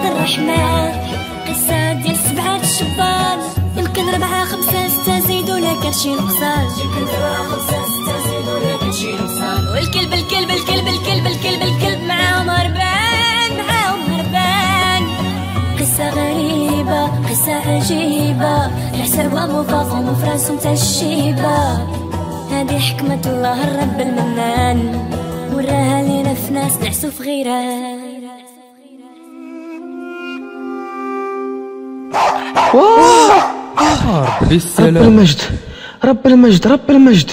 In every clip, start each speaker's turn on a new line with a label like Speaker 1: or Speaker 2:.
Speaker 1: الرحمن قصة ديال سبعة الشبان يمكن ربعة خمسة ستة زيدوا لا كان شي نقصان يمكن ربعة خمسة ستة زيدوا لا كان شي نقصان والكلب الكلب الكلب الكلب الكلب الكلب معاهم هربان معاهم هربان قصة غريبة قصة عجيبة الحسابة مفاقة ومفرسهم تشيبة هذه حكمة الله الرب المنان وراها لينا في ناس نعسو في غيرها
Speaker 2: رب
Speaker 3: بالسلام
Speaker 2: المجد رب المجد رب المجد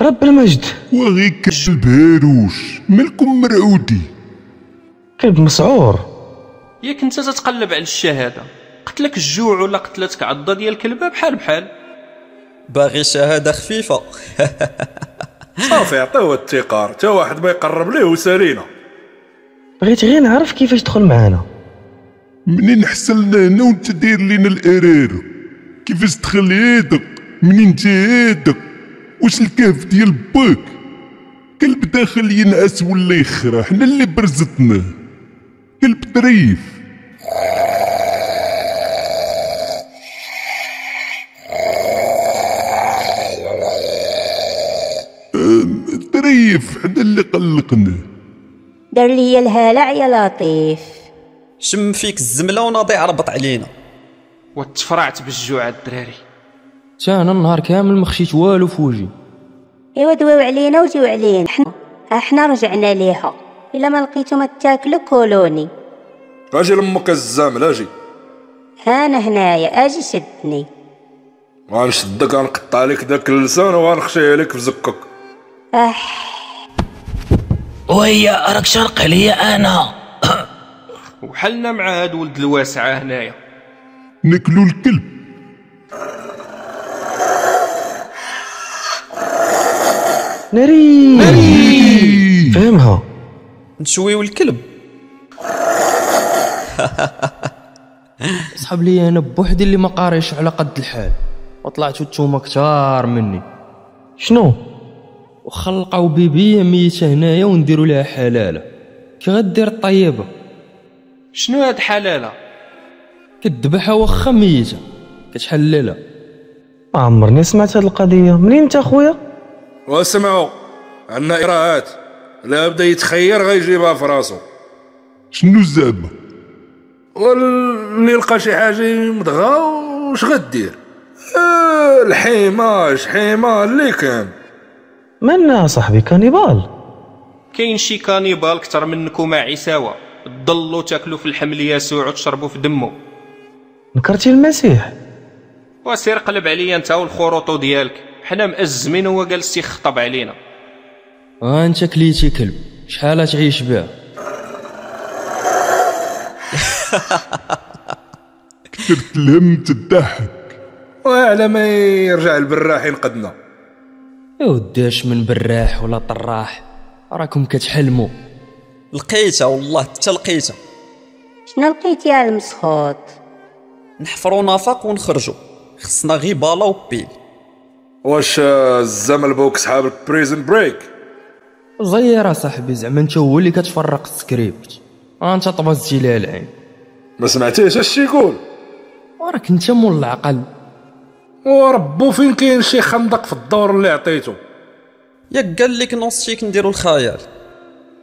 Speaker 2: رب المجد
Speaker 4: وغيك البهاروش مالكم مرعودي
Speaker 2: كلب مسعور
Speaker 5: ياك انت تتقلب على الشهاده قتلك الجوع ولا قتلتك عضه ديال الكلبه بحال بحال
Speaker 6: باغي شهاده خفيفه
Speaker 7: صافي عطيوه التيقار تا واحد ما يقرب ليه وسالينا
Speaker 2: بغيت غير نعرف كيفاش تدخل معانا
Speaker 4: منين حصلنا هنا وانت داير لينا الاراره كيفاش دخل هذا منين جا هذا واش الكهف ديال باك كلب داخل ينعس ولا يخرا حنا اللي برزتناه كلب ظريف أم، ظريف حنا اللي قلقناه
Speaker 8: دار لي الهلع يا لطيف
Speaker 6: شم فيك الزمله وناضي عربط علينا
Speaker 5: وتفرعت بالجوع الدراري
Speaker 3: تا انا النهار كامل ما خشيت والو في وجهي
Speaker 8: ايوا دواو علينا وجيو علينا احنا احنا رجعنا ليها الا ما لقيتو ما تاكلو كولوني
Speaker 7: اجي لامك الزامل اجي
Speaker 8: انا هنايا اجي شدني
Speaker 7: غنشدك غنقطع لك داك اللسان وغنخشيه لك في زكك
Speaker 8: اح
Speaker 9: وهي راك شرق عليا انا
Speaker 5: وحلنا مع هاد ولد الواسعه هنايا
Speaker 4: ناكلو الكلب
Speaker 2: ناري فهمها
Speaker 6: نشويو الكلب
Speaker 3: صحاب لي انا بوحدي اللي ما قاريش على قد الحال وطلعت نتوما كتار مني
Speaker 2: شنو
Speaker 3: وخا لقاو بيبي ميته هنايا ونديرو لها حلاله كي غدير الطيبه
Speaker 5: شنو هاد حلاله
Speaker 3: كتذبحها واخا ميته كتحللها
Speaker 2: ما عمرني سمعت هاد القضيه منين انت اخويا
Speaker 7: واسمعوا عندنا اراءات لا بدا يتخير غيجيبها في راسو
Speaker 4: شنو زعما
Speaker 7: واللي يلقى شي حاجه مضغه واش غدير آه، الحيمه شحيمه اللي كان
Speaker 2: مالنا صاحبي كانيبال
Speaker 5: كاين شي كانيبال اكثر منكم مع عيساوه تضلوا تاكلوا في الحمل يسوع وتشربوا في دمه
Speaker 2: نكرتي المسيح
Speaker 5: وسير قلب عليا انت والخروطو ديالك حنا مأزمين وهو جالس يخطب علينا
Speaker 3: ها انت كليتي كلب شحال تعيش بها
Speaker 4: كثرت الهم تضحك
Speaker 7: وعلى ما يرجع البراح ينقدنا
Speaker 3: يا ودي اش من براح ولا طراح راكم كتحلموا
Speaker 6: لقيتها والله حتى لقيتها
Speaker 8: شنو لقيتي يا المسخوط
Speaker 6: نحفروا نفق ونخرجوا خصنا غي بالا وبيل
Speaker 7: واش آه، الزمل بوك صحاب البريزن بريك
Speaker 3: زير صاحبي زعما انت هو اللي كتفرق السكريبت ها انت طبزتي لها العين
Speaker 7: ما سمعتيش اش يقول
Speaker 3: وراك انت مول العقل
Speaker 7: وربو فين كاين شي خندق في الدور اللي عطيته
Speaker 6: ياك قال لك نص شيك نديرو الخيال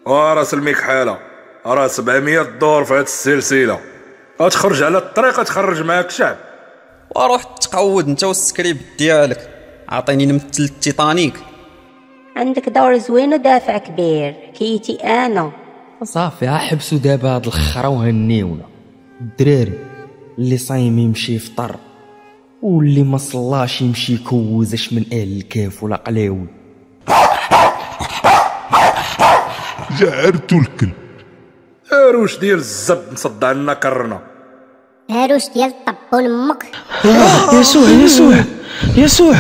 Speaker 7: وراه اه، سلميك حاله راه 700 دور في هاد السلسله غتخرج على الطريق تخرج معاك شعب
Speaker 6: واروح تقود انت والسكريبت ديالك عطيني نمثل التيتانيك
Speaker 8: عندك دور زوين ودافع كبير حكيتي انا
Speaker 3: صافي ها حبسوا دابا هاد الخرا وهنيونا الدراري اللي صايم يمشي يفطر واللي ما صلاش يمشي يكوز اش من اهل الكاف ولا قلاوي
Speaker 4: جعرتو الكلب
Speaker 7: اروش ديال الزب مصدع لنا كرنا
Speaker 10: هاروش ديال الطبون امك
Speaker 2: يسوع يسوع يسوع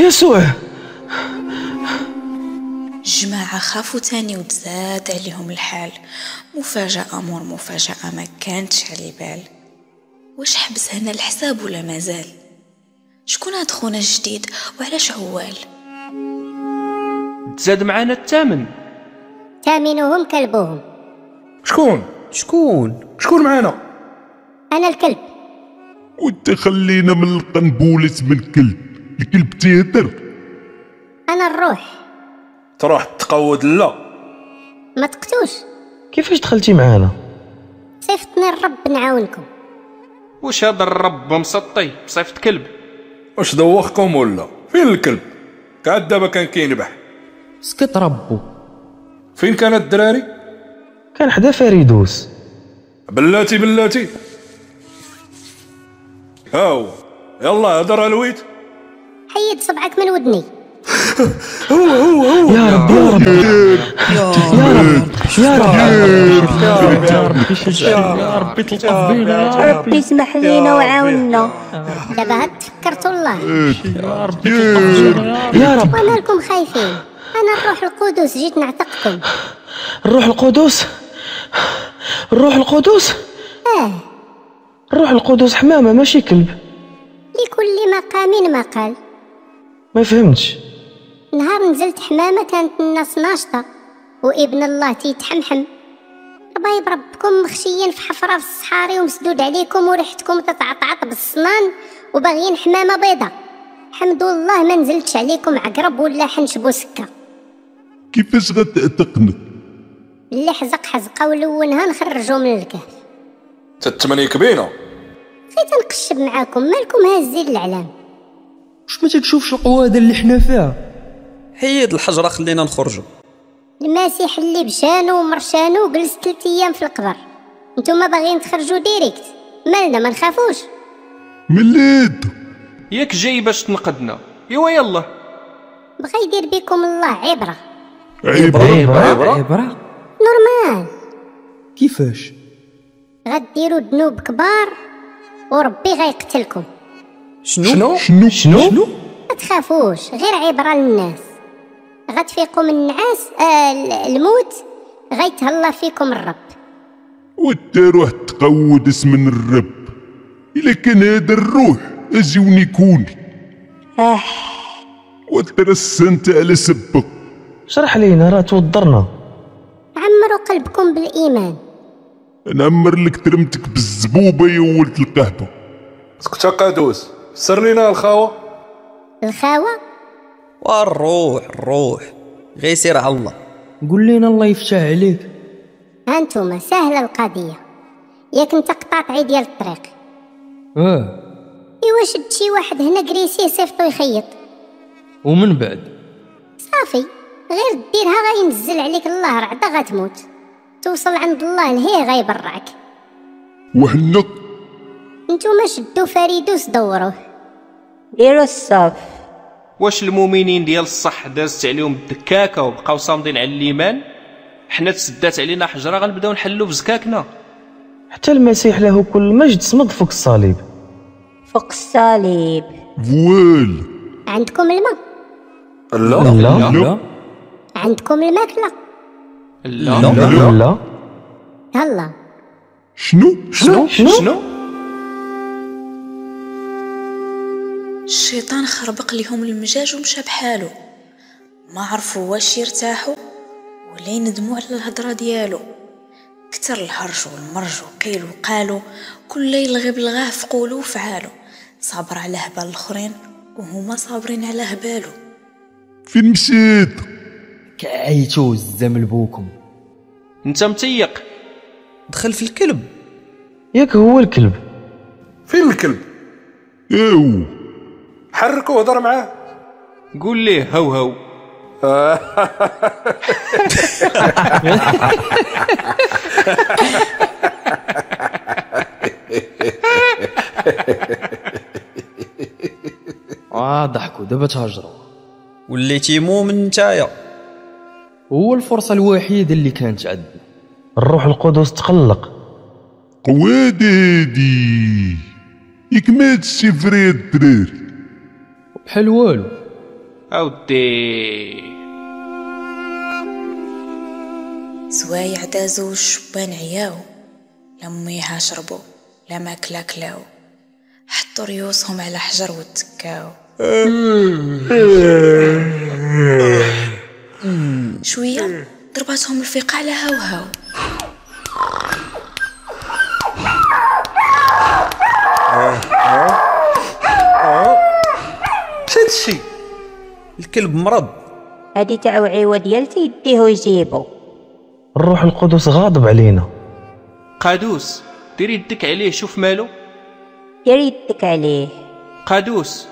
Speaker 2: يسوع
Speaker 10: جماعة خافوا تاني وتزاد عليهم الحال مفاجأة مور مفاجأة ما كانتش على البال واش حبس هنا الحساب ولا مازال شكون هاد خونا الجديد وعلاش عوال
Speaker 5: تزاد معانا الثامن
Speaker 10: ثامنهم كلبهم
Speaker 7: شكون
Speaker 6: شكون
Speaker 7: شكون معانا
Speaker 8: انا الكلب
Speaker 4: وانت خلينا من القنبولة من الكلب الكلب تيهدر
Speaker 8: انا الروح
Speaker 7: تروح تقود لا
Speaker 8: ما تقتوش
Speaker 2: كيفاش دخلتي معانا
Speaker 8: صيفطني الرب نعاونكم
Speaker 5: واش هذا الرب مسطي بصيفط كلب
Speaker 7: واش دوخكم ولا فين الكلب قعد دابا كان كينبح
Speaker 3: سكت ربو
Speaker 7: فين كان الدراري
Speaker 2: كان حدا فريدوس
Speaker 7: بلاتي بلاتي هاو يلا هضر الويت
Speaker 8: حيد صبعك من ودني
Speaker 2: هو هو هو يا رب يا رب يا رب يا رب يا رب
Speaker 8: يا ربي تلطف بينا ربي اسمح لينا وعاوننا دابا هاد تفكرت والله
Speaker 2: يا ربي يا رب
Speaker 8: ومالكم خايفين انا الروح القدس جيت نعتقكم
Speaker 2: الروح القدس الروح القدس
Speaker 8: اه
Speaker 2: الروح القدس حمامة ماشي كلب
Speaker 8: لكل مقام مقال
Speaker 2: ما فهمتش
Speaker 8: نهار نزلت حمامة كانت الناس ناشطة وابن الله تيتحمحم ربايب ربكم مخشيين في حفرة في الصحاري ومسدود عليكم وريحتكم تتعطعط بالصنان وباغيين حمامة بيضة حمد الله ما نزلتش عليكم عقرب ولا حنشبو سكة
Speaker 4: كيفاش غتعتقنا
Speaker 8: اللي حزق حزقة ولونها نخرجو من الكهف
Speaker 7: تتمنيك بينا
Speaker 8: بغيت نقشب معاكم مالكم هازين العلام
Speaker 3: واش ما تتشوفش القواده اللي حنا فيها
Speaker 6: حيد الحجره خلينا نخرجوا
Speaker 8: المسيح اللي بشانو ومرشانو جلس ثلاث ايام في القبر نتوما باغيين تخرجوا ديريكت مالنا ما نخافوش
Speaker 4: مليت
Speaker 5: ياك جاي باش تنقدنا ايوا يلا
Speaker 8: بغا يدير بكم الله عبره
Speaker 3: عبره عبره
Speaker 8: نورمال
Speaker 3: كيفاش
Speaker 8: غديروا ذنوب كبار وربي غيقتلكم
Speaker 6: شنو
Speaker 4: شنو
Speaker 3: شنو
Speaker 8: ما تخافوش غير عبره للناس غتفيقوا من النعاس آه ال- الموت غيتهلا فيكم الرب
Speaker 4: وانت روح تقود اسم من الرب الا كان هذا الروح اجي ونيكوني
Speaker 11: آه
Speaker 4: وترسنت على سبك
Speaker 2: شرح لينا راه توضرنا
Speaker 8: عمروا قلبكم بالايمان
Speaker 4: نعمر لك ترمتك بالزبوبه يا ولد القهبه
Speaker 7: سكت قادوس سر لينا الخاوه
Speaker 8: الخاوه
Speaker 6: والروح الروح غير سير على الله
Speaker 3: قول لنا الله يفتح عليك
Speaker 8: هانتوما سهله القضيه ياك انت قطعتعي ديال الطريق
Speaker 3: اه
Speaker 8: ايوا شد شي واحد هنا كريسيه صيفطو يخيط
Speaker 3: ومن بعد
Speaker 8: صافي غير ديرها غينزل عليك الله رعدة غتموت توصل عند الله لهيه غيبرعك
Speaker 4: وحنا
Speaker 8: نتوما شدو فريدوس دوروه
Speaker 11: ديروا الصف
Speaker 5: واش المؤمنين ديال الصح دازت عليهم الدكاكه وبقاو صامدين على الايمان حنا تسدات علينا حجره غنبداو نحلو بزكاكنا
Speaker 2: حتى المسيح له كل مجد صمد فوق الصليب
Speaker 11: فوق الصليب
Speaker 4: فوال
Speaker 8: عندكم الماء
Speaker 7: لا
Speaker 2: لا
Speaker 3: لا
Speaker 8: عندكم الماكلة
Speaker 5: لا
Speaker 2: لا لا
Speaker 8: هلا
Speaker 4: شنو
Speaker 2: شنو شنو
Speaker 1: الشيطان خربق لهم المجاج ومشى بحالو ما عرفوا واش يرتاحوا ولا يندموا على الهضرة ديالو كتر الهرج والمرج وقيل وقالو كل ليل غيب لغاه في قولو وفعالو صابر على هبال الاخرين وهما صابرين على هبالو
Speaker 4: فين مشيت
Speaker 3: كعيتو الزم لبوكم
Speaker 5: انت متيق
Speaker 6: دخل في الكلب
Speaker 2: ياك هو الكلب
Speaker 7: فين الكلب
Speaker 4: ايو
Speaker 7: حركو وهضر معاه
Speaker 5: قول ليه هو هو
Speaker 3: اه ضحكوا دابا تهجروا
Speaker 6: وليتي مؤمن نتايا
Speaker 3: هو الفرصه الوحيده اللي كانت عندنا
Speaker 2: الروح القدس تقلق
Speaker 4: قواد هادي ياك ما هادشي فري الدراري
Speaker 3: بحال والو
Speaker 5: اودي
Speaker 1: زوايع دازو الشبان عياو لا ميها شربو لا ماكلة كلاو حطوا ريوسهم على حجر وتكاو شوية ضربتهم الفيقة على هاو هاو
Speaker 6: الكلب مرض
Speaker 12: هادي تاع عيوة ديالتي يديه ويجيبو
Speaker 2: الروح القدس غاضب علينا
Speaker 5: قادوس دير يدك عليه شوف مالو
Speaker 12: دير يدك عليه
Speaker 5: قادوس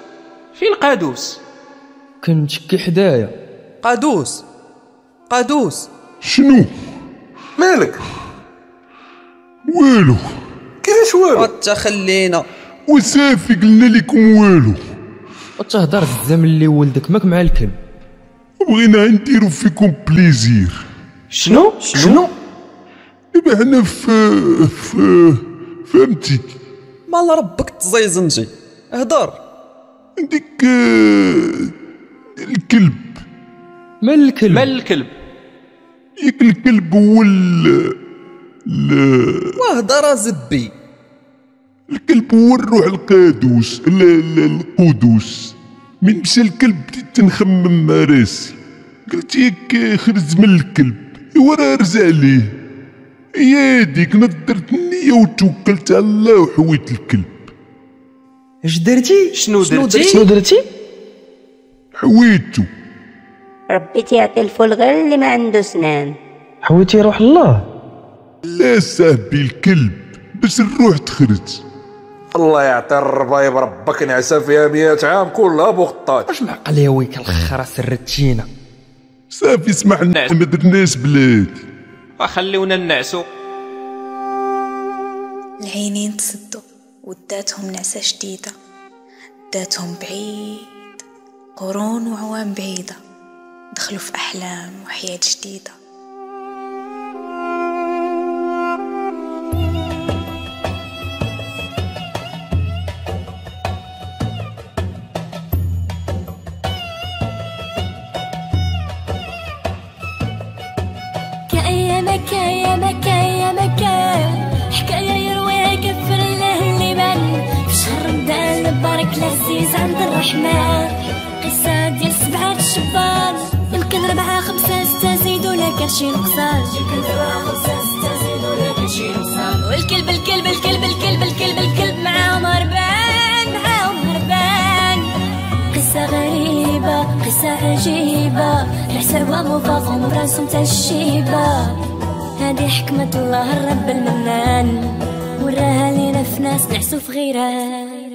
Speaker 5: فين قادوس
Speaker 3: كنت كي حدايا
Speaker 6: قادوس قادوس
Speaker 4: شنو
Speaker 7: مالك
Speaker 4: والو
Speaker 7: كيفاش والو
Speaker 6: تخلينا
Speaker 4: وصافي قلنا لكم والو
Speaker 3: وتهضر الزمن اللي ولدك ماك مع الكلب
Speaker 4: بغينا نديرو فيكم بليزير
Speaker 5: شنو شنو
Speaker 4: دابا حنا في في فهمتي
Speaker 6: مال ربك تزيزنجي هضر
Speaker 4: ديك آه، الكلب
Speaker 3: مال الكلب
Speaker 5: مال الكلب
Speaker 4: ياك الكلب هو ال ال-
Speaker 6: وهضر زبي
Speaker 4: الكلب هو الروح القادوس ال- ال- القدوس من مشى الكلب بديت نخمم مع راسي قلت ياك خرج من الكلب إوا راه رجع ليه يا ديك نضرت النية وتوكلت على الله وحويت الكلب
Speaker 3: اش درتي
Speaker 5: شنو درتي
Speaker 2: شنو درتي
Speaker 4: حويتو
Speaker 12: ربي تيعطي الفول غير اللي ما عنده سنان
Speaker 2: حويتي روح الله
Speaker 4: لا صاحبي الكلب باش الروح تخرج
Speaker 7: الله يعطي الربايب ربك نعسى فيها مئة عام كلها بوخطات
Speaker 3: واش العقل يا ويك الخرا سرتينا
Speaker 4: صافي اسمح لنا ما درناش بلادي
Speaker 5: خليونا نعسو
Speaker 1: العينين تسدوا وداتهم نعسة شديدة داتهم بعيد قرون وعوام بعيدة دخلوا في أحلام وحياة جديدة
Speaker 8: كأيامك أيامك أيامك حكاية يرويها كفر الله اللي بان في شهر رمضان مبارك العزيز عند الرحمن قصة ديال سبعة شبان يمكن ربعة خمسة ستة زيدوا لك شي نقصان يمكن ربعة خمسة ستة زيدوا لك شي نقصان والكلب الكلب الكلب الكلب الكلب الكلب معاهم هربان معاهم هربان قصة غريبة قصة عجيبة العسر ومفاضهم براسهم تشيبة هذه حكمة الله الرب المنان وراها لينا في ناس نعسو في غيران